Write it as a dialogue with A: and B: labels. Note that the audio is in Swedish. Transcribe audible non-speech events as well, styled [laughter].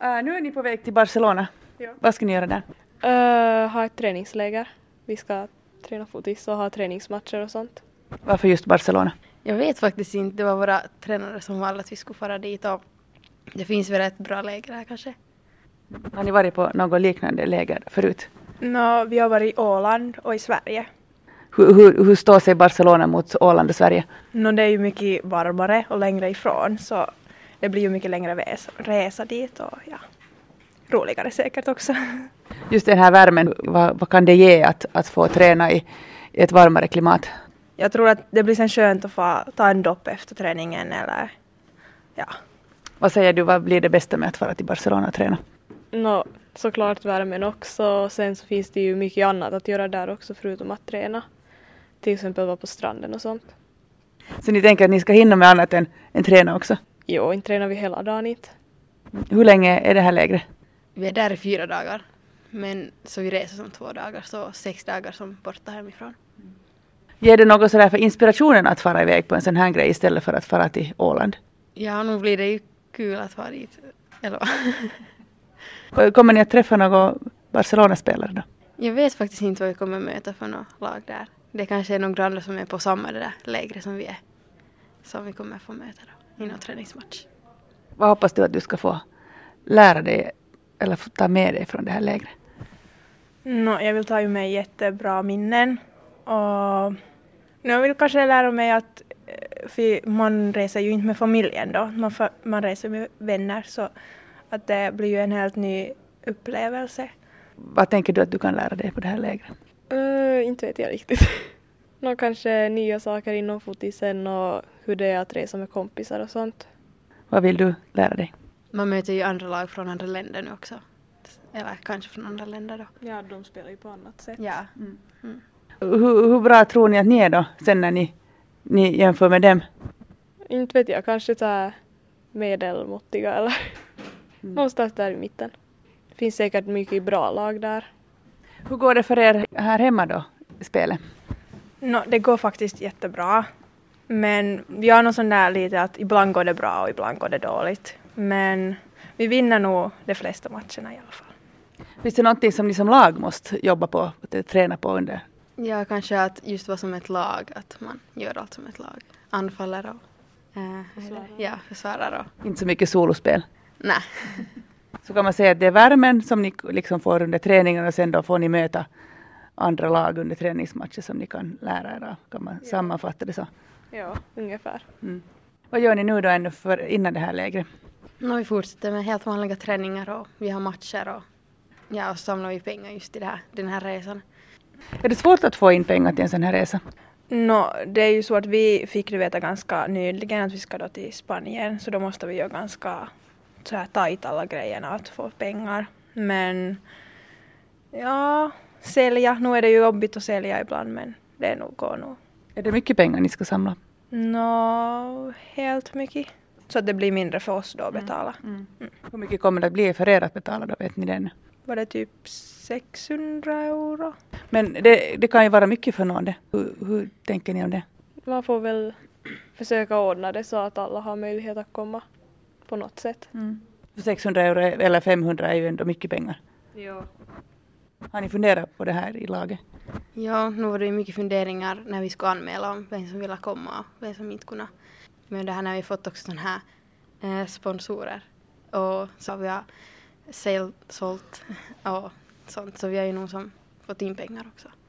A: Eh, nu är ni på väg till Barcelona.
B: Ja.
A: Vad ska ni göra där?
B: Eh, ha ett träningsläger. Vi ska träna fotis och ha träningsmatcher och sånt.
A: Varför just Barcelona?
C: Jag vet faktiskt inte. Det var våra tränare som valde att vi skulle fara dit och det finns väl ett bra läger här kanske.
A: Har ni varit på något liknande läger förut?
D: Nå, vi har varit i Åland och i Sverige.
A: Hur, hur, hur står sig Barcelona mot Åland och Sverige?
D: Nå, det är ju mycket varmare och längre ifrån så det blir ju mycket längre res- resa dit och ja, roligare säkert också. [laughs]
A: Just den här värmen, vad, vad kan det ge att, att få träna i i ett varmare klimat?
D: Jag tror att det blir sen skönt att få ta en dopp efter träningen eller ja.
A: Vad säger du, vad blir det bästa med att fara till Barcelona och träna?
B: Nå, såklart värmen också och sen så finns det ju mycket annat att göra där också förutom att träna. Till exempel vara på stranden och sånt.
A: Så ni tänker att ni ska hinna med annat än, än träna också?
B: Jo, inte tränar vi hela dagen inte.
A: Hur länge är det här lägret?
C: Vi är där i fyra dagar. Men så vi reser som två dagar, så sex dagar som borta hemifrån.
A: Ger det något sådär för inspirationen att fara iväg på en sån här grej istället för att fara till Åland?
C: Ja, nog blir det ju kul att vara dit. Eller vad? [laughs]
A: Kommer ni att träffa någon Barcelona-spelare då?
C: Jag vet faktiskt inte vad vi kommer möta för något lag där. Det kanske är några andra som är på samma det där lägre som vi är. Som vi kommer få möta då, i någon träningsmatch.
A: Vad hoppas du att du ska få lära dig eller få ta med dig från det här lägret?
D: Nå, jag vill ta ju med jättebra minnen och nu vill jag kanske lära mig att eh, för man reser ju inte med familjen då, man, fa- man reser med vänner så att det blir ju en helt ny upplevelse.
A: Vad tänker du att du kan lära dig på det här lägret?
B: Eh, inte vet jag riktigt. [laughs] Nå, kanske nya saker inom fotisen och hur det är att resa med kompisar och sånt.
A: Vad vill du lära dig?
C: Man möter ju andra lag från andra länder nu också. Eller kanske från andra länder då.
B: Ja, de spelar ju på annat sätt.
C: Ja. mm.
A: Hur, hur bra tror ni att ni är då sen när ni, ni jämför med dem?
B: Inte vet jag, kanske så här medelmåttiga eller någonstans där i mitten. Det finns säkert mycket bra lag där.
A: Hur går det för er här hemma då, i spelet?
D: Nå, det går faktiskt jättebra. Men vi har någon sån där lite att ibland går det bra och ibland går det dåligt. Men vi vinner nog de flesta matcherna i alla fall.
A: Finns det någonting som ni som lag måste jobba på, att träna på under?
C: Ja, kanske att just vara som ett lag, att man gör allt som ett lag. Anfaller och eh, försvarar. Ja, försvarar och
A: Inte så mycket solospel.
C: nej.
A: Så kan man säga att det är värmen som ni liksom får under träningen och sen då får ni möta andra lag under träningsmatcher som ni kan lära er av. Kan man sammanfatta det så?
B: Ja, ungefär.
A: Mm. Vad gör ni nu då ännu för, innan det här lägret?
C: No, vi fortsätter med helt vanliga träningar och vi har matcher och ja, och samlar vi pengar just i det här, den här resan.
A: Är det svårt att få in pengar till en sån här resa?
D: Nå, det är ju så att vi fick ju veta ganska nyligen att vi ska då till Spanien så då måste vi göra ganska så här tajt alla grejerna att få pengar. Men ja, sälja. Nu är det ju jobbigt att sälja ibland men det nog, går nog.
A: Är det mycket pengar ni ska samla?
D: Nå, helt mycket. Så att det blir mindre för oss då
A: Mm.
D: att betala.
A: Hur mycket kommer det att bli för er att betala då? Vet ni det ännu?
D: var det typ 600 euro.
A: Men det, det kan ju vara mycket för någon det. Hur, hur tänker ni om det?
B: Man får väl försöka ordna det så att alla har möjlighet att komma på något sätt.
A: 600 euro är- eller 500 är ju ändå mycket pengar.
B: Ja.
A: Har ni funderat på det här i laget?
C: Ja, nu var det ju mycket funderingar när vi skulle anmäla om vem som ville komma och vem som inte kunde. Men det här när vi fått också sådana här eh, sponsorer och så har vi har sälj- sålt och sånt så vi har ju nog som fått in pengar också.